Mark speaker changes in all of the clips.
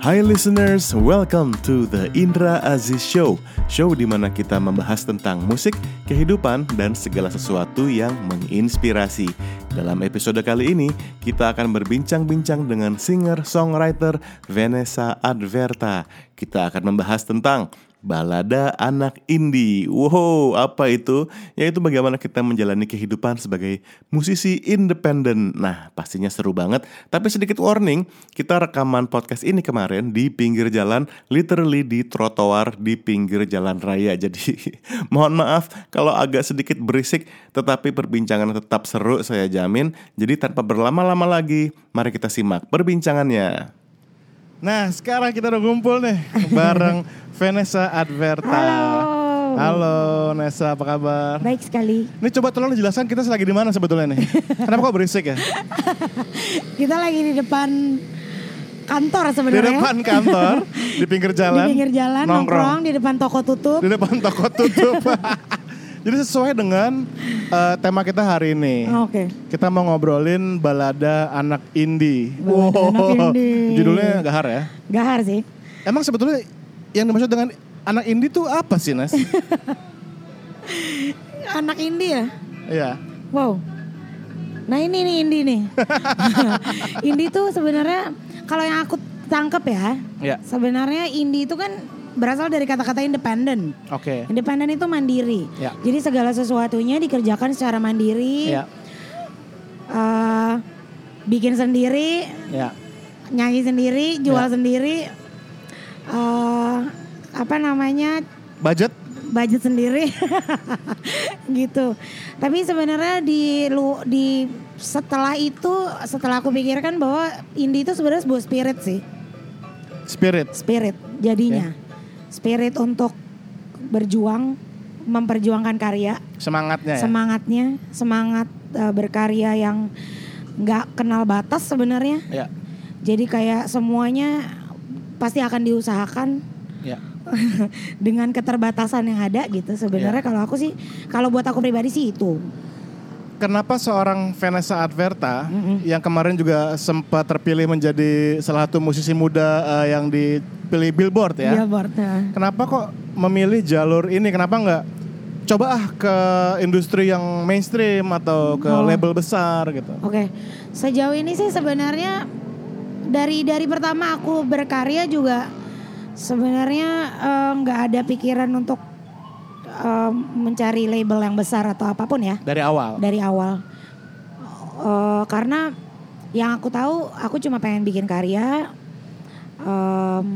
Speaker 1: Hi listeners, welcome to the Indra Aziz Show Show di mana kita membahas tentang musik, kehidupan, dan segala sesuatu yang menginspirasi Dalam episode kali ini, kita akan berbincang-bincang dengan singer-songwriter Vanessa Adverta Kita akan membahas tentang Balada anak indie. Wow, apa itu? Yaitu bagaimana kita menjalani kehidupan sebagai musisi independen. Nah, pastinya seru banget. Tapi sedikit warning, kita rekaman podcast ini kemarin di pinggir jalan, literally di trotoar di pinggir jalan raya. Jadi, mohon maaf kalau agak sedikit berisik, tetapi perbincangan tetap seru saya jamin. Jadi, tanpa berlama-lama lagi, mari kita simak perbincangannya. Nah, sekarang kita udah ngumpul nih bareng Vanessa Adverta.
Speaker 2: Halo.
Speaker 1: Halo, Nessa, apa kabar?
Speaker 2: Baik sekali.
Speaker 1: Ini coba tolong dijelaskan kita lagi di mana sebetulnya nih. Kenapa kok berisik ya?
Speaker 2: Kita lagi di depan kantor
Speaker 1: Di
Speaker 2: sebenarnya.
Speaker 1: depan kantor, di pinggir jalan.
Speaker 2: Di pinggir jalan nongkrong. di depan toko tutup.
Speaker 1: Di depan toko tutup. Jadi sesuai dengan eh, tema kita hari ini.
Speaker 2: Oh, Oke.
Speaker 1: Kita mau ngobrolin balada anak indie.
Speaker 2: Balada anak indie.
Speaker 1: Judulnya gahar ya.
Speaker 2: Gahar sih.
Speaker 1: Emang sebetulnya yang dimaksud dengan anak indie tuh apa sih, Nes?
Speaker 2: Anak indie ya.
Speaker 1: Iya.
Speaker 2: Wow. Nah ini nih indie nih. indie tuh sebenarnya kalau yang aku tangkep ya,
Speaker 1: Iya.
Speaker 2: sebenarnya indie itu kan berasal dari kata-kata independen.
Speaker 1: Oke.
Speaker 2: Independen itu mandiri.
Speaker 1: Ya.
Speaker 2: Jadi segala sesuatunya dikerjakan secara mandiri.
Speaker 1: Iya.
Speaker 2: Eh, bikin sendiri,
Speaker 1: Iya.
Speaker 2: nyanyi sendiri, jual
Speaker 1: Ya.
Speaker 2: sendiri, eh apa namanya
Speaker 1: Budget?
Speaker 2: budget sendiri, gitu. Tapi sebenarnya di lu di setelah itu setelah aku pikirkan bahwa indie itu sebenarnya sebuah spirit sih,
Speaker 1: Spirit.
Speaker 2: spirit jadinya,
Speaker 1: Ya.
Speaker 2: spirit untuk berjuang, memperjuangkan karya,
Speaker 1: Semangatnya ya.
Speaker 2: semangatnya, semangat eh, berkarya yang nggak kenal batas sebenarnya.
Speaker 1: Iya.
Speaker 2: Jadi kayak semuanya pasti akan diusahakan
Speaker 1: Iya.
Speaker 2: dengan keterbatasan yang ada gitu. Sebenarnya kalau aku sih, kalau buat aku pribadi sih itu.
Speaker 1: Kenapa seorang Vanessa Adverta
Speaker 2: Mm-mm.
Speaker 1: yang kemarin juga sempat terpilih menjadi salah satu musisi muda eh, yang dipilih Billboard ya?
Speaker 2: Iya, Bart. Nah.
Speaker 1: Kenapa kok memilih jalur ini? Kenapa nggak coba ah ke industri yang mainstream atau ke
Speaker 2: Oh.
Speaker 1: label besar gitu?
Speaker 2: Oke, sejauh ini sih sebenarnya dari dari pertama aku berkarya juga sebenarnya eh, nggak ada pikiran untuk eh, mencari label yang besar atau apapun ya.
Speaker 1: Dari awal.
Speaker 2: dari awal Eh, karena yang aku tahu aku cuma pengen bikin karya em,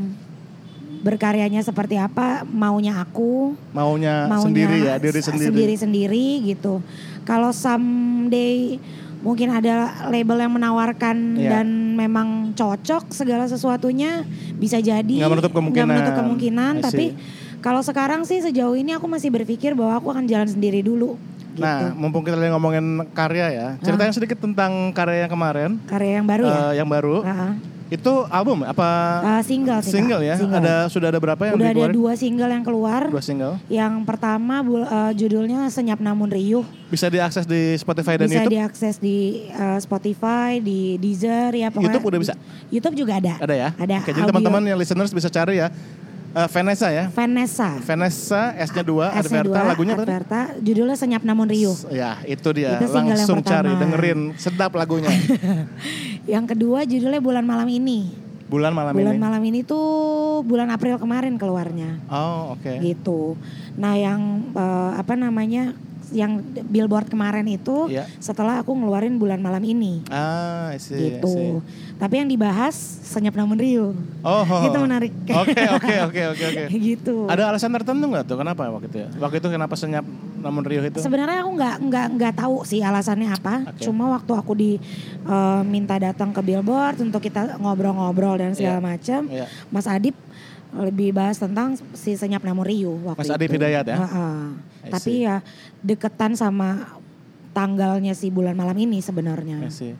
Speaker 2: berkaryanya seperti apa maunya aku
Speaker 1: Maunya,
Speaker 2: maunya
Speaker 1: sendiri ya, diri sendiri.
Speaker 2: sendiri sendiri gitu kalau someday mungkin ada label yang menawarkan
Speaker 1: Iya.
Speaker 2: dan memang cocok segala sesuatunya bisa jadi
Speaker 1: Nggak menutup kemungkinan.
Speaker 2: nggak menutup kemungkinan
Speaker 1: I see.
Speaker 2: tapi kalau sekarang sih sejauh ini aku masih berpikir bahwa aku akan jalan sendiri dulu gitu.
Speaker 1: Nah, mumpung kita lagi ngomongin karya ya, ceritain sedikit tentang karya yang kemarin,
Speaker 2: karya yang baru ya.
Speaker 1: eh, yang baru.
Speaker 2: Heeh.
Speaker 1: Itu album apa
Speaker 2: Eh, single sih. Kak.
Speaker 1: single ya?
Speaker 2: Single.
Speaker 1: Ada sudah ada berapa yang
Speaker 2: Udah ada
Speaker 1: dikeluarin?
Speaker 2: dua single yang keluar.
Speaker 1: Dua single.
Speaker 2: Yang pertama bul- eh, judulnya Senyap Namun Riuh.
Speaker 1: Bisa diakses di Spotify Eh, dan
Speaker 2: bisa
Speaker 1: YouTube.
Speaker 2: diakses di eh, Spotify, di Deezer ya pokoknya.
Speaker 1: YouTube udah bisa?
Speaker 2: YouTube juga ada.
Speaker 1: Ada ya?
Speaker 2: Ada.
Speaker 1: Oke, jadi
Speaker 2: audio.
Speaker 1: teman-teman yang listeners bisa cari ya. Eh, Vanessa ya.
Speaker 2: Vanessa.
Speaker 1: Vanessa S-nya 2,
Speaker 2: S-nya
Speaker 1: Adverta
Speaker 2: dua,
Speaker 1: lagunya apa tadi?
Speaker 2: Adverta, judulnya Senyap Namun Riuh.
Speaker 1: Ya, itu dia.
Speaker 2: Itu single yang
Speaker 1: Langsung cari,
Speaker 2: pertama.
Speaker 1: dengerin, sedap lagunya.
Speaker 2: Yang kedua judulnya Bulan Malam Ini.
Speaker 1: Bulan malam
Speaker 2: Bulan
Speaker 1: ini.
Speaker 2: Malam Ini tuh bulan April kemarin keluarnya.
Speaker 1: Oh, oke.
Speaker 2: gitu. Nah, yang eh, apa namanya? yang billboard kemarin itu
Speaker 1: Iya.
Speaker 2: setelah aku ngeluarin bulan malam ini
Speaker 1: Ah, I see, I see.
Speaker 2: gitu. Tapi yang dibahas senyap namun Rio.
Speaker 1: Oh.
Speaker 2: Itu menarik.
Speaker 1: Oke, oke, oke, oke, oke.
Speaker 2: gitu.
Speaker 1: Ada alasan tertentu nggak tuh kenapa waktu itu? ya? Waktu itu kenapa senyap namun Rio itu?
Speaker 2: Sebenarnya aku nggak nggak nggak tahu sih alasannya apa.
Speaker 1: Oke.
Speaker 2: Cuma waktu aku di eh, minta datang ke billboard untuk kita ngobrol-ngobrol dan segala macam,
Speaker 1: Iya.
Speaker 2: Mas Adip lebih bahas tentang si senyap namun Rio waktu
Speaker 1: Mas Adip
Speaker 2: itu. Ah.
Speaker 1: Hidayat ya?
Speaker 2: Ha-ha.
Speaker 1: I
Speaker 2: Tapi
Speaker 1: see.
Speaker 2: ya deketan sama tanggalnya si bulan malam ini sebenarnya.
Speaker 1: I see.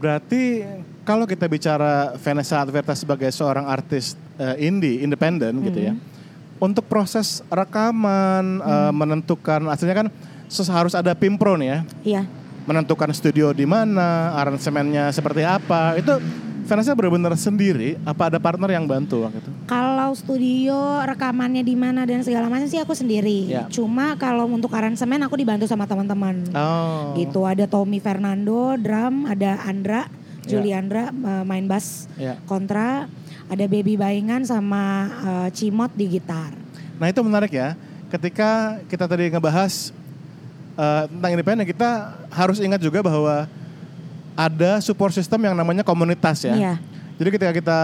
Speaker 1: Berarti kalau kita bicara Vanessa Adverta sebagai seorang artis eh, indie, independen gitu ya. Untuk proses rekaman eh, menentukan hasilnya kan ses- harus ada pimpro nih ya.
Speaker 2: Iya.
Speaker 1: Menentukan studio di mana, aransemennya seperti apa. Itu Vanessa benar-benar sendiri apa ada partner yang bantu waktu itu?
Speaker 2: Kalau studio rekamannya di mana dan segala macam sih aku sendiri.
Speaker 1: Ya.
Speaker 2: Cuma kalau untuk aransemen aku dibantu sama teman-teman.
Speaker 1: Oh.
Speaker 2: Gitu ada Tommy Fernando drum, ada Andra,
Speaker 1: Ya.
Speaker 2: Juliandra eh, main bass
Speaker 1: Ya.
Speaker 2: kontra, ada Baby Baingan sama eh, Cimot di gitar.
Speaker 1: Nah itu menarik ya. Ketika kita tadi ngebahas eh, tentang independen, kita harus ingat juga bahwa ada support system yang namanya komunitas ya.
Speaker 2: Iya.
Speaker 1: Jadi ketika kita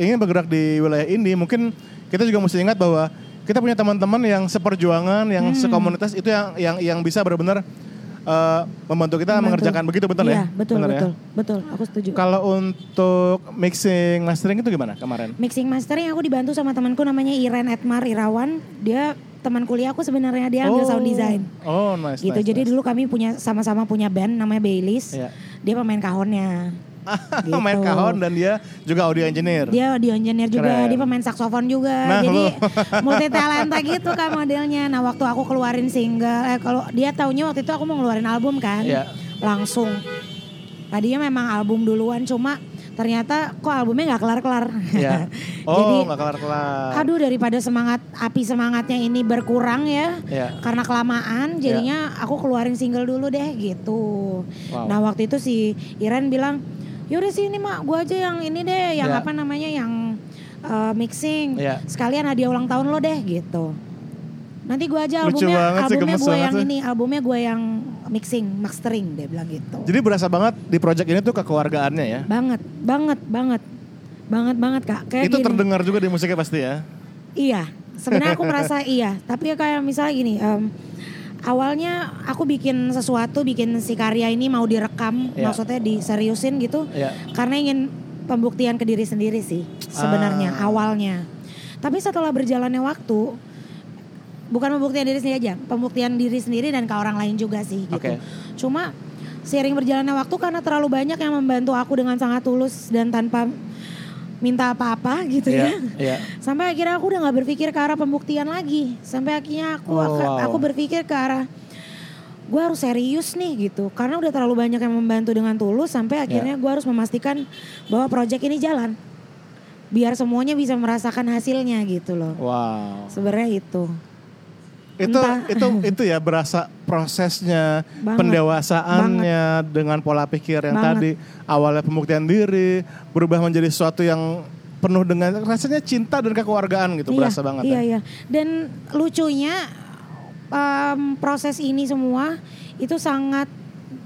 Speaker 1: ingin bergerak di wilayah ini, mungkin kita juga mesti ingat bahwa kita punya teman-teman yang seperjuangan,
Speaker 2: Hmm.
Speaker 1: yang sekomunitas itu yang yang yang bisa benar-benar eh, membantu kita
Speaker 2: Membantu.
Speaker 1: mengerjakan begitu betul
Speaker 2: Iya,
Speaker 1: ya?
Speaker 2: betul
Speaker 1: Benar ya?
Speaker 2: betul. Betul, aku setuju.
Speaker 1: Kalau untuk mixing mastering itu gimana kemarin?
Speaker 2: Mixing mastering aku dibantu sama temanku namanya Iren Etmar Irawan. Dia teman kuliah aku sebenarnya dia ambil sound design.
Speaker 1: Oh, nice.
Speaker 2: gitu.
Speaker 1: nice,
Speaker 2: Jadi
Speaker 1: nice.
Speaker 2: dulu kami punya sama-sama punya band namanya Baileys.
Speaker 1: Iya.
Speaker 2: Dia pemain kahonnya. Gitu.
Speaker 1: main kahon dan dia juga audio engineer.
Speaker 2: Dia audio engineer juga,
Speaker 1: Keren.
Speaker 2: dia pemain saksofon juga.
Speaker 1: Nah,
Speaker 2: Jadi
Speaker 1: lu.
Speaker 2: multi talenta gitu kan modelnya. Nah, waktu aku keluarin single eh kalau dia taunya waktu itu aku mau ngeluarin album kan.
Speaker 1: Iya.
Speaker 2: Langsung. Tadinya memang album duluan cuma ternyata kok albumnya nggak kelar-kelar.
Speaker 1: Iya.
Speaker 2: kan. Jadi
Speaker 1: Oh, nggak kelar-kelar.
Speaker 2: aduh daripada semangat api semangatnya ini berkurang ya.
Speaker 1: Iya.
Speaker 2: karena
Speaker 1: Ya.
Speaker 2: kelamaan jadinya aku keluarin single dulu deh gitu.
Speaker 1: Wow.
Speaker 2: Nah waktu itu si Iren bilang, yaudah sih ini mak gue aja yang ini deh, yang
Speaker 1: Ya.
Speaker 2: apa namanya yang uh, mixing,
Speaker 1: Ya.
Speaker 2: sekalian hadiah ulang tahun lo deh gitu. Nanti gue aja
Speaker 1: Lucu banget
Speaker 2: albumnya,
Speaker 1: sih,
Speaker 2: albumnya
Speaker 1: gemes
Speaker 2: gue
Speaker 1: banget
Speaker 2: yang
Speaker 1: sih.
Speaker 2: ini, albumnya gue yang mixing, mastering dia bilang gitu.
Speaker 1: Jadi berasa banget di project ini tuh kekeluargaannya ya.
Speaker 2: banget, banget, banget, banget banget kak. Kayak
Speaker 1: itu
Speaker 2: gini.
Speaker 1: terdengar juga di musiknya pasti ya.
Speaker 2: Iya, sebenarnya aku merasa iya. Tapi ya kayak misalnya gini, em, awalnya aku bikin sesuatu, bikin si karya ini mau direkam,
Speaker 1: Iya.
Speaker 2: maksudnya diseriusin gitu,
Speaker 1: Iya.
Speaker 2: karena ingin pembuktian ke diri sendiri sih sebenarnya
Speaker 1: Ah.
Speaker 2: awalnya. Tapi setelah berjalannya waktu, bukan pembuktian diri sendiri aja, pembuktian diri sendiri dan ke orang lain juga sih gitu.
Speaker 1: Oke.
Speaker 2: Cuma sering berjalannya waktu karena terlalu banyak yang membantu aku dengan sangat tulus dan tanpa minta apa-apa gitu
Speaker 1: Iya.
Speaker 2: ya
Speaker 1: Iya.
Speaker 2: sampai akhirnya aku udah nggak berpikir ke arah pembuktian lagi sampai akhirnya aku
Speaker 1: Oh,
Speaker 2: aku-
Speaker 1: wow.
Speaker 2: aku berpikir ke arah gue harus serius nih gitu karena udah terlalu banyak yang membantu dengan tulus sampai akhirnya
Speaker 1: Ya.
Speaker 2: gue harus memastikan bahwa proyek ini jalan biar semuanya bisa merasakan hasilnya gitu loh
Speaker 1: Wow.
Speaker 2: sebenarnya itu
Speaker 1: Itu
Speaker 2: Entah.
Speaker 1: itu itu ya berasa prosesnya,
Speaker 2: Banget.
Speaker 1: pendewasaannya dengan pola pikir yang
Speaker 2: Banget.
Speaker 1: tadi awalnya pembuktian diri berubah menjadi sesuatu yang penuh dengan rasanya cinta dan kekeluargaan gitu berasa banget ya.
Speaker 2: iya iya dan lucunya em, proses ini semua itu sangat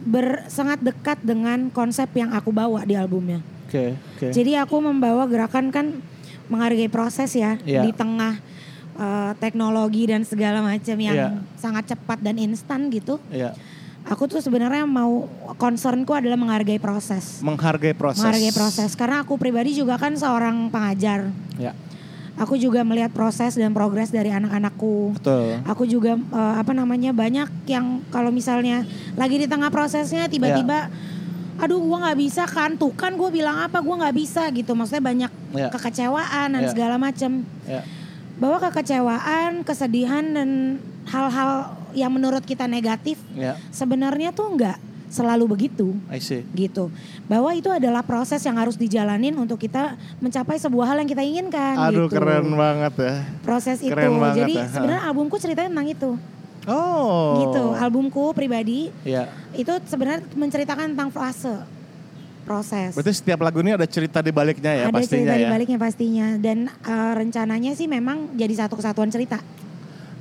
Speaker 2: ber, sangat dekat dengan konsep yang aku bawa di albumnya
Speaker 1: Oke, oke.
Speaker 2: Jadi aku membawa gerakan kan menghargai proses ya
Speaker 1: Iya.
Speaker 2: di tengah uh, teknologi dan segala macam yang
Speaker 1: Iya.
Speaker 2: sangat cepat dan instan gitu.
Speaker 1: Iya.
Speaker 2: Aku tuh sebenarnya mau concernku adalah menghargai proses.
Speaker 1: Menghargai proses.
Speaker 2: Menghargai proses karena aku pribadi juga kan seorang pengajar.
Speaker 1: Ya,
Speaker 2: Aku juga melihat proses dan progres dari anak-anakku.
Speaker 1: betul.
Speaker 2: Aku juga eh, apa namanya banyak yang kalau misalnya lagi di tengah prosesnya tiba-tiba
Speaker 1: Iya.
Speaker 2: aduh gua nggak bisa kan tuh kan gue bilang apa gua nggak bisa gitu maksudnya banyak
Speaker 1: Ya.
Speaker 2: kekecewaan dan
Speaker 1: Ya.
Speaker 2: segala macam
Speaker 1: Ya.
Speaker 2: bahwa kekecewaan kesedihan dan hal-hal yang menurut kita negatif
Speaker 1: Ya,
Speaker 2: sebenarnya tuh nggak selalu begitu
Speaker 1: I see.
Speaker 2: gitu bahwa itu adalah proses yang harus dijalanin untuk kita mencapai sebuah hal yang kita inginkan
Speaker 1: Aduh
Speaker 2: gitu.
Speaker 1: keren banget ya.
Speaker 2: proses itu
Speaker 1: Keren banget
Speaker 2: jadi
Speaker 1: ya.
Speaker 2: sebenarnya albumku ceritanya tentang itu
Speaker 1: Oh.
Speaker 2: gitu albumku pribadi
Speaker 1: Ya.
Speaker 2: itu sebenarnya menceritakan tentang fase proses
Speaker 1: Berarti setiap lagu ini ada cerita di baliknya ya
Speaker 2: ada
Speaker 1: pastinya
Speaker 2: cerita
Speaker 1: ya.
Speaker 2: di baliknya pastinya dan eh, rencananya sih memang jadi satu kesatuan cerita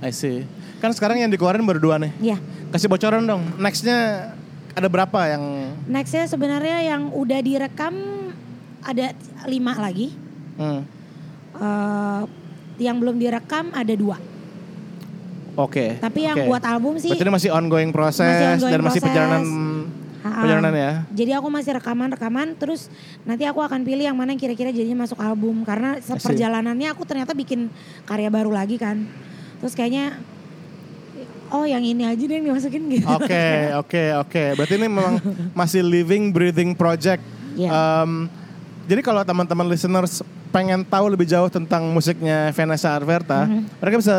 Speaker 1: I see. Kan sekarang yang dikeluarin berdua nih.
Speaker 2: ya
Speaker 1: Kasih bocoran dong. Nextnya ada berapa yang
Speaker 2: nextnya sebenarnya yang udah direkam ada lima lagi
Speaker 1: hmm.
Speaker 2: Eh, yang belum direkam ada dua
Speaker 1: Oke.
Speaker 2: tapi yang
Speaker 1: oke.
Speaker 2: buat album sih
Speaker 1: Berarti ini masih ongoing proses
Speaker 2: Masih ongoing
Speaker 1: dan masih
Speaker 2: proses. Ah.
Speaker 1: perjalanan
Speaker 2: ha-ha.
Speaker 1: perjalanan ya.
Speaker 2: jadi aku masih rekaman-rekaman terus nanti aku akan pilih yang mana yang kira-kira jadinya masuk album karena se-
Speaker 1: I see.
Speaker 2: perjalanannya aku ternyata bikin karya baru lagi kan terus kayaknya oh yang ini aja deh yang dimasukin gitu
Speaker 1: Oke, oke, oke. Berarti ini memang masih living breathing project.
Speaker 2: Iya.
Speaker 1: Em, jadi kalau teman-teman listeners pengen tahu lebih jauh tentang musiknya Vanessa Arverta, mereka bisa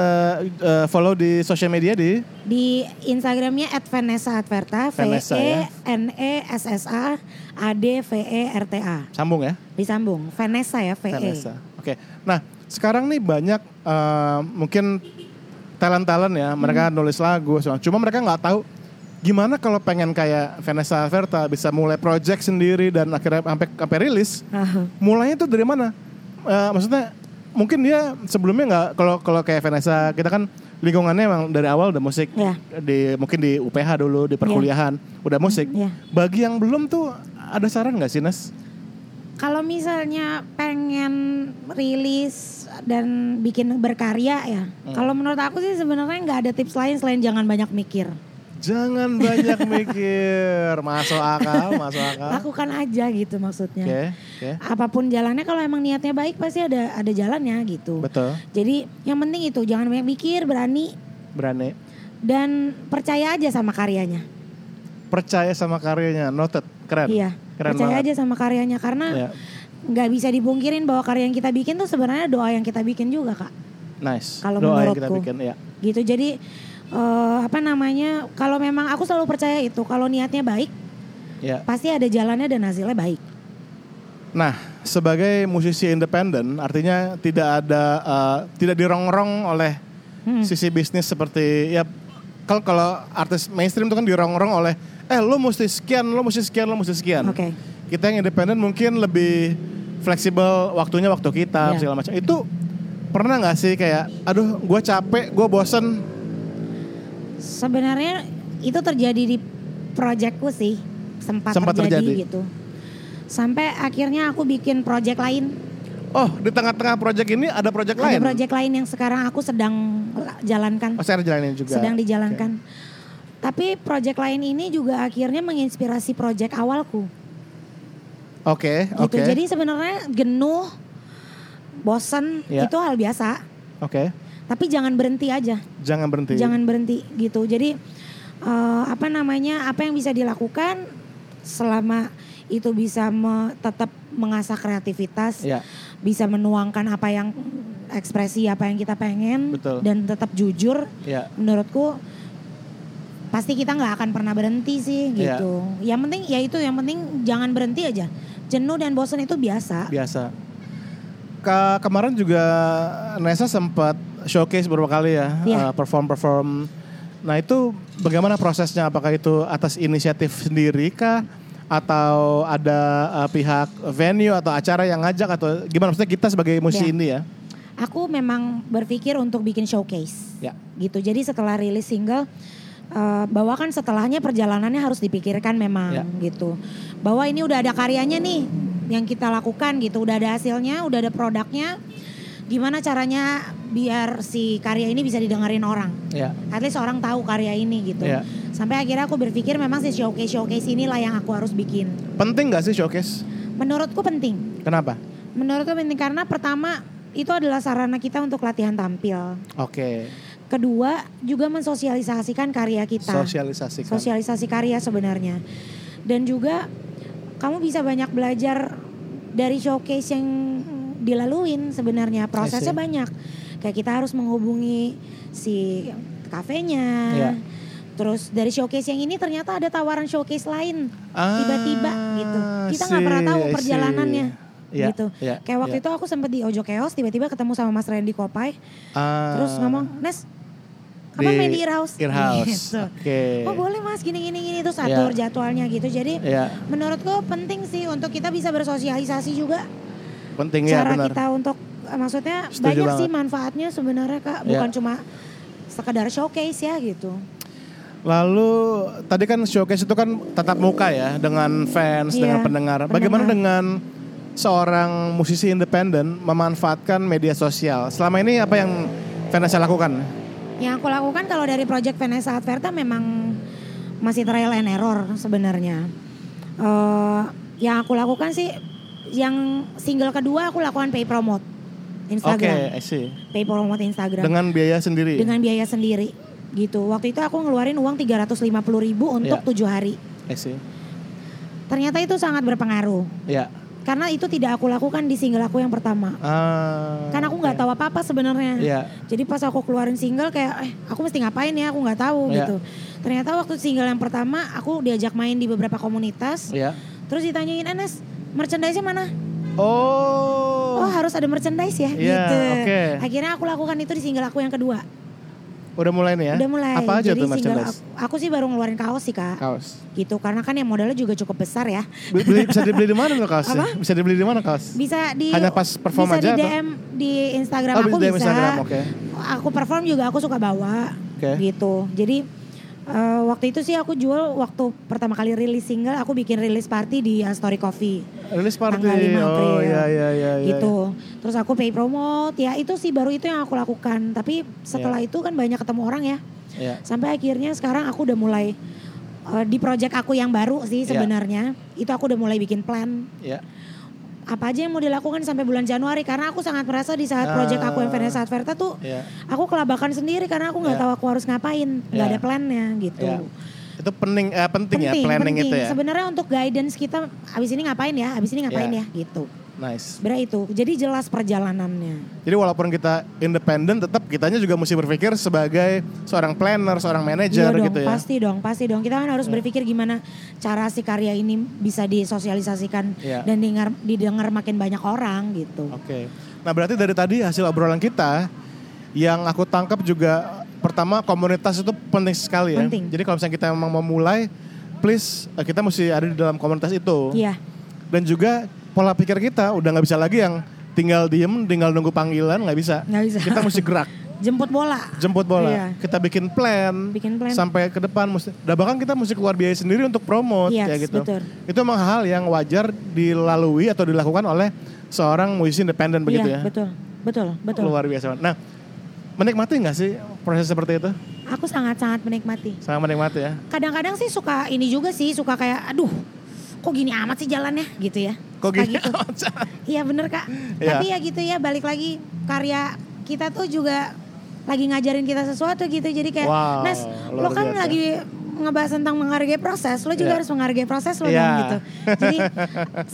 Speaker 1: eh, follow di sosial media di
Speaker 2: Di Instagramnya at Vanessa Adverta, V
Speaker 1: Vanessa,
Speaker 2: E
Speaker 1: ya.
Speaker 2: N E S S A A D V E R T A.
Speaker 1: sambung ya.
Speaker 2: Disambung Vanessa ya V E.
Speaker 1: Vanessa. Oke. Nah, sekarang nih banyak eh, mungkin talent-talent ya, mereka nulis lagu, semua. cuma mereka nggak tahu gimana kalau pengen kayak Vanessa Verta bisa mulai project sendiri dan akhirnya sampai sampai rilis.
Speaker 2: Aha.
Speaker 1: Mulainya tuh dari mana? Eh, maksudnya mungkin dia sebelumnya nggak kalau kalau kayak Vanessa kita kan lingkungannya emang dari awal udah musik
Speaker 2: Ya.
Speaker 1: di mungkin di UPH dulu di perkuliahan udah musik.
Speaker 2: Ya.
Speaker 1: Bagi yang belum tuh ada saran nggak sih Nes?
Speaker 2: Kalau misalnya pengen rilis dan bikin berkarya ya,
Speaker 1: Hmm.
Speaker 2: kalau menurut aku sih sebenarnya nggak ada tips lain selain jangan banyak mikir,
Speaker 1: Jangan banyak mikir, masuk akal, masuk akal.
Speaker 2: lakukan aja gitu maksudnya.
Speaker 1: Ah. Oke, oke,
Speaker 2: Apapun jalannya kalau emang niatnya baik pasti ada ada jalannya gitu.
Speaker 1: betul,
Speaker 2: Jadi yang penting itu jangan banyak mikir, berani
Speaker 1: berani,
Speaker 2: dan percaya aja sama karyanya.
Speaker 1: percaya sama karyanya, noted, keren,
Speaker 2: Iya,
Speaker 1: keren
Speaker 2: percaya
Speaker 1: banget.
Speaker 2: aja sama karyanya karena
Speaker 1: Ya,
Speaker 2: nggak bisa dipungkirin bahwa karya yang kita bikin tuh sebenarnya doa yang kita bikin juga kak.
Speaker 1: nice.
Speaker 2: Kalau
Speaker 1: Doa yang kita
Speaker 2: menurutku.
Speaker 1: bikin, ya.
Speaker 2: gitu jadi eh, apa namanya kalau memang aku selalu percaya itu kalau niatnya baik
Speaker 1: ya.
Speaker 2: pasti ada jalannya dan hasilnya baik
Speaker 1: Nah, sebagai musisi independen, artinya tidak ada, eh, tidak dirongrong oleh
Speaker 2: Hmm.
Speaker 1: sisi bisnis seperti ya. Kalau kalau artis mainstream itu kan dirongrong oleh, eh lo mesti sekian, lo mesti sekian, lo mesti sekian.
Speaker 2: oke
Speaker 1: kita yang independen mungkin lebih fleksibel waktunya waktu kita
Speaker 2: Iya.
Speaker 1: segala macam itu pernah nggak sih kayak aduh gue capek gue bosen
Speaker 2: sebenarnya itu terjadi di proyekku sih sempat,
Speaker 1: Sempat
Speaker 2: terjadi,
Speaker 1: terjadi.
Speaker 2: gitu sampai akhirnya aku bikin proyek lain
Speaker 1: oh di tengah-tengah project ini ada project
Speaker 2: ada
Speaker 1: lain
Speaker 2: proyek lain yang sekarang aku sedang la- jalankan
Speaker 1: oh saya ada jalanin juga
Speaker 2: sedang dijalankan tapi proyek lain ini juga akhirnya menginspirasi proyek awalku
Speaker 1: oke
Speaker 2: gitu
Speaker 1: oke
Speaker 2: jadi sebenarnya genuh bosen
Speaker 1: Ya.
Speaker 2: itu hal biasa
Speaker 1: oke
Speaker 2: tapi jangan berhenti aja
Speaker 1: jangan berhenti
Speaker 2: jangan berhenti gitu jadi eh, apa namanya apa yang bisa dilakukan selama itu bisa me- tetap mengasah kreativitas
Speaker 1: ya
Speaker 2: bisa menuangkan apa yang ekspresi apa yang kita pengen
Speaker 1: Betul.
Speaker 2: dan tetap jujur
Speaker 1: ya
Speaker 2: menurutku pasti kita nggak akan pernah berhenti sih
Speaker 1: Iya.
Speaker 2: gitu yang penting ya itu yang penting jangan berhenti aja jenuh dan bosan itu biasa
Speaker 1: biasa Ke- kemarin juga Nessa sempat showcase beberapa kali ya
Speaker 2: Iya.
Speaker 1: perform perform nah itu bagaimana prosesnya apakah itu atas inisiatif sendiri kah atau ada eh, pihak venue atau acara yang ngajak atau gimana maksudnya kita sebagai musisi
Speaker 2: Iya.
Speaker 1: ini ya
Speaker 2: aku memang berpikir untuk bikin showcase
Speaker 1: ya
Speaker 2: gitu. Jadi setelah rilis single eh, bahwa kan setelahnya perjalanannya harus dipikirkan memang
Speaker 1: Ya.
Speaker 2: gitu. Bahwa ini udah ada karyanya nih yang kita lakukan gitu, udah ada hasilnya, udah ada produknya. Gimana caranya biar si karya ini bisa didengerin orang?
Speaker 1: ya
Speaker 2: At least orang tahu karya ini gitu.
Speaker 1: Ya.
Speaker 2: Sampai akhirnya aku berpikir memang si showcase showcase inilah yang aku harus bikin.
Speaker 1: penting nggak sih showcase
Speaker 2: Menurutku penting.
Speaker 1: kenapa
Speaker 2: Menurutku penting karena pertama itu adalah sarana kita untuk latihan tampil.
Speaker 1: oke
Speaker 2: Kedua, juga mensosialisasikan karya kita.
Speaker 1: sosialisasikan
Speaker 2: Sosialisasi karya sebenarnya. Dan juga kamu bisa banyak belajar dari showcase yang dilaluin sebenarnya. Prosesnya
Speaker 1: I see.
Speaker 2: banyak. Kayak kita harus menghubungi si kafenya.
Speaker 1: Iya.
Speaker 2: Terus dari showcase yang ini ternyata ada tawaran showcase lain
Speaker 1: Ah,
Speaker 2: tiba-tiba gitu. Kita nggak
Speaker 1: see,
Speaker 2: pernah tahu
Speaker 1: I see.
Speaker 2: perjalanannya.
Speaker 1: Iya,
Speaker 2: gitu.
Speaker 1: iya,
Speaker 2: Kayak waktu
Speaker 1: iya.
Speaker 2: itu aku sempat di Ojo Chaos tiba-tiba ketemu sama Mas Randy Kopai.
Speaker 1: Ah.
Speaker 2: Terus ngomong, Nes, kapan main di Irhouse?
Speaker 1: Earhouse.
Speaker 2: Gitu.
Speaker 1: Oke.
Speaker 2: Oh boleh mas, gini-gini gini terus atur
Speaker 1: Iya.
Speaker 2: jadwalnya gitu. Jadi
Speaker 1: Iya,
Speaker 2: menurutku penting sih untuk kita bisa bersosialisasi juga.
Speaker 1: penting ya
Speaker 2: cara
Speaker 1: benar.
Speaker 2: kita untuk, eh, maksudnya
Speaker 1: Setuju
Speaker 2: banyak
Speaker 1: banget.
Speaker 2: sih manfaatnya sebenarnya kak.
Speaker 1: Iya.
Speaker 2: Bukan cuma sekedar showcase ya gitu.
Speaker 1: Lalu tadi kan showcase itu kan tatap muka ya dengan fans,
Speaker 2: Iya,
Speaker 1: dengan pendengar. Bagaimana
Speaker 2: pendengar.
Speaker 1: dengan seorang musisi independen memanfaatkan media sosial? Selama ini apa yang Vanessa lakukan?
Speaker 2: Yang aku lakukan kalau dari Project Vanessa Adverta memang masih trial and error sebenarnya. Eh, yang aku lakukan sih, yang single kedua aku lakukan pay promote
Speaker 1: Oke,
Speaker 2: Instagram.
Speaker 1: I see.
Speaker 2: pay promote Instagram
Speaker 1: Dengan biaya sendiri.
Speaker 2: dengan biaya sendiri gitu. Waktu itu aku ngeluarin uang 350.000 untuk
Speaker 1: Iya.
Speaker 2: tujuh hari.
Speaker 1: I see.
Speaker 2: Ternyata itu sangat berpengaruh
Speaker 1: Ya,
Speaker 2: Karena itu tidak aku lakukan di single aku yang pertama.
Speaker 1: Ah,
Speaker 2: Karena aku nggak
Speaker 1: oke.
Speaker 2: tahu apa-apa sebenarnya.
Speaker 1: Iya.
Speaker 2: Jadi pas aku keluarin single kayak eh aku mesti ngapain ya aku nggak tahu
Speaker 1: Iya.
Speaker 2: gitu. Ternyata waktu single yang pertama aku diajak main di beberapa komunitas.
Speaker 1: Iya.
Speaker 2: Terus ditanyain Enes merchandise mana?
Speaker 1: Oh.
Speaker 2: Oh harus ada merchandise ya
Speaker 1: Iya,
Speaker 2: gitu.
Speaker 1: oke.
Speaker 2: Akhirnya aku lakukan itu di single aku yang kedua.
Speaker 1: Udah mulai nih ya.
Speaker 2: Udah mulai.
Speaker 1: Apa aja
Speaker 2: Jadi
Speaker 1: tuh
Speaker 2: single
Speaker 1: merchandise?
Speaker 2: Aku, aku sih baru ngeluarin kaos sih kak.
Speaker 1: Kaos.
Speaker 2: Gitu karena kan yang modalnya juga cukup besar ya.
Speaker 1: Beli- Beli, bisa dibeli di mana tuh kaosnya?
Speaker 2: Apa?
Speaker 1: Bisa dibeli di mana kaos?
Speaker 2: Bisa di
Speaker 1: Hanya pas perform
Speaker 2: bisa
Speaker 1: aja
Speaker 2: di
Speaker 1: atau? Oh,
Speaker 2: DM di Instagram aku
Speaker 1: Ah, di
Speaker 2: bisa.
Speaker 1: Instagram, oke.
Speaker 2: Aku perform juga aku suka bawa
Speaker 1: Oke.
Speaker 2: gitu. Jadi eh, waktu itu sih aku jual waktu pertama kali rilis single aku bikin rilis party di Astori Coffee
Speaker 1: Rilis party.
Speaker 2: tanggal 5 April.
Speaker 1: Oh iya iya iya. iya.
Speaker 2: gitu. Terus aku pay promote ya itu sih baru itu yang aku lakukan. Tapi setelah itu kan banyak ketemu orang ya.
Speaker 1: Iya.
Speaker 2: Sampai akhirnya sekarang aku udah mulai eh, di project aku yang baru sih
Speaker 1: Iya.
Speaker 2: sebenarnya. Itu aku udah mulai bikin plan
Speaker 1: Iya.
Speaker 2: apa aja yang mau dilakukan sampai bulan Januari karena aku sangat merasa di saat project aku yang Vanessa Adverta tuh
Speaker 1: Iya.
Speaker 2: aku kelabakan sendiri karena aku nggak
Speaker 1: Ah. Iya.
Speaker 2: tahu aku harus ngapain, nggak
Speaker 1: Iya.
Speaker 2: ada plannya gitu.
Speaker 1: Iya. Itu pening, eh, penting, ya planning
Speaker 2: penting.
Speaker 1: itu ya.
Speaker 2: Sebenarnya untuk guidance kita abis ini ngapain ya, abis ini ngapain
Speaker 1: Iya.
Speaker 2: ya gitu.
Speaker 1: Nice.
Speaker 2: Sebenarnya itu. Jadi jelas perjalanannya.
Speaker 1: Jadi walaupun kita independen tetap kitanya juga mesti berpikir sebagai seorang planner, seorang
Speaker 2: Iya
Speaker 1: manajer
Speaker 2: dong,
Speaker 1: gitu ya. Iya.
Speaker 2: pasti dong, pasti dong. Kita kan harus berpikir gimana cara si karya ini bisa disosialisasikan
Speaker 1: Iya.
Speaker 2: dan dengar, didengar makin banyak orang gitu.
Speaker 1: Oke. Nah, berarti dari tadi hasil obrolan kita yang aku tangkap juga pertama komunitas itu penting sekali ya.
Speaker 2: Penting.
Speaker 1: Jadi kalau misalnya kita memang mau mulai, please eh, kita mesti ada di dalam komunitas itu.
Speaker 2: Iya,
Speaker 1: Dan juga pola pikir kita udah nggak bisa lagi yang tinggal diem, tinggal nunggu panggilan nggak bisa.
Speaker 2: nggak bisa.
Speaker 1: Kita mesti gerak,
Speaker 2: Jemput bola.
Speaker 1: jemput bola.
Speaker 2: Iya.
Speaker 1: Kita bikin plan,
Speaker 2: Bikin plan.
Speaker 1: sampai ke depan mesti. Dan bahkan kita mesti keluar biaya sendiri untuk promote
Speaker 2: Iya,
Speaker 1: kayak gitu.
Speaker 2: betul.
Speaker 1: Itu memang hal yang wajar dilalui atau dilakukan oleh seorang musisi independen begitu ya.
Speaker 2: iya, betul. Betul, betul.
Speaker 1: Luar biasa. banget. Nah, menikmati nggak sih proses seperti itu?
Speaker 2: Aku sangat-sangat menikmati.
Speaker 1: Sangat menikmati ya.
Speaker 2: Kadang-kadang sih suka ini juga sih, suka kayak aduh kok gini amat sih jalannya gitu ya.
Speaker 1: Kok
Speaker 2: Suka
Speaker 1: gini?
Speaker 2: gitu. Iya bener kak.
Speaker 1: Iya.
Speaker 2: Tapi ya gitu ya balik lagi karya kita tuh juga lagi ngajarin kita sesuatu gitu. Jadi kayak
Speaker 1: Wow,
Speaker 2: Nes lo
Speaker 1: luar
Speaker 2: kan
Speaker 1: biasa.
Speaker 2: lagi ngebahas tentang menghargai proses. Lo
Speaker 1: Iya.
Speaker 2: juga harus menghargai proses lo
Speaker 1: Iya.
Speaker 2: dong gitu. Jadi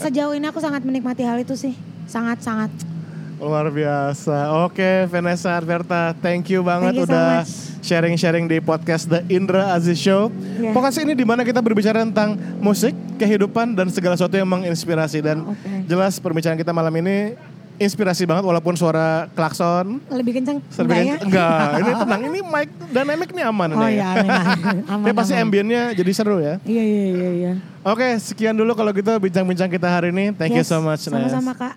Speaker 2: sejauh ini aku sangat menikmati hal itu sih. Sangat-sangat.
Speaker 1: Luar biasa. Oke, Vanessa Alberta, thank you banget
Speaker 2: Thank you so
Speaker 1: udah
Speaker 2: much.
Speaker 1: sharing-sharing di podcast The Indra Aziz Show.
Speaker 2: Iya.
Speaker 1: Pokoknya ini di mana kita berbicara tentang musik, kehidupan dan segala sesuatu yang menginspirasi dan
Speaker 2: Oke.
Speaker 1: jelas perbincangan kita malam ini inspirasi banget walaupun suara klakson
Speaker 2: Lebih kenceng.
Speaker 1: Serba
Speaker 2: enggak ya?
Speaker 1: enggak, ini tenang, ini mic dynamic nih aman
Speaker 2: Oh
Speaker 1: nih.
Speaker 2: iya aman. aman,
Speaker 1: Tapi ya? pasti
Speaker 2: aman.
Speaker 1: ambiennya jadi seru ya.
Speaker 2: Iya iya iya iya.
Speaker 1: Oke, sekian dulu kalau gitu bincang-bincang kita hari ini. Thank you
Speaker 2: Yes,
Speaker 1: so much. Nes.
Speaker 2: Sama-sama kak.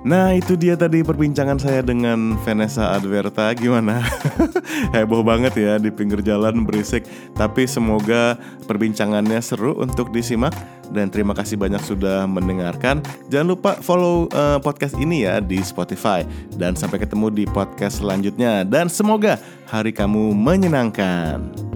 Speaker 3: Nah itu dia tadi perbincangan saya dengan Vanessa Adverta Gimana? Heboh banget ya di pinggir jalan berisik Tapi semoga perbincangannya seru untuk disimak Dan terima kasih banyak sudah mendengarkan Jangan lupa follow eh, podcast ini ya di Spotify Dan sampai ketemu di podcast selanjutnya Dan semoga hari kamu menyenangkan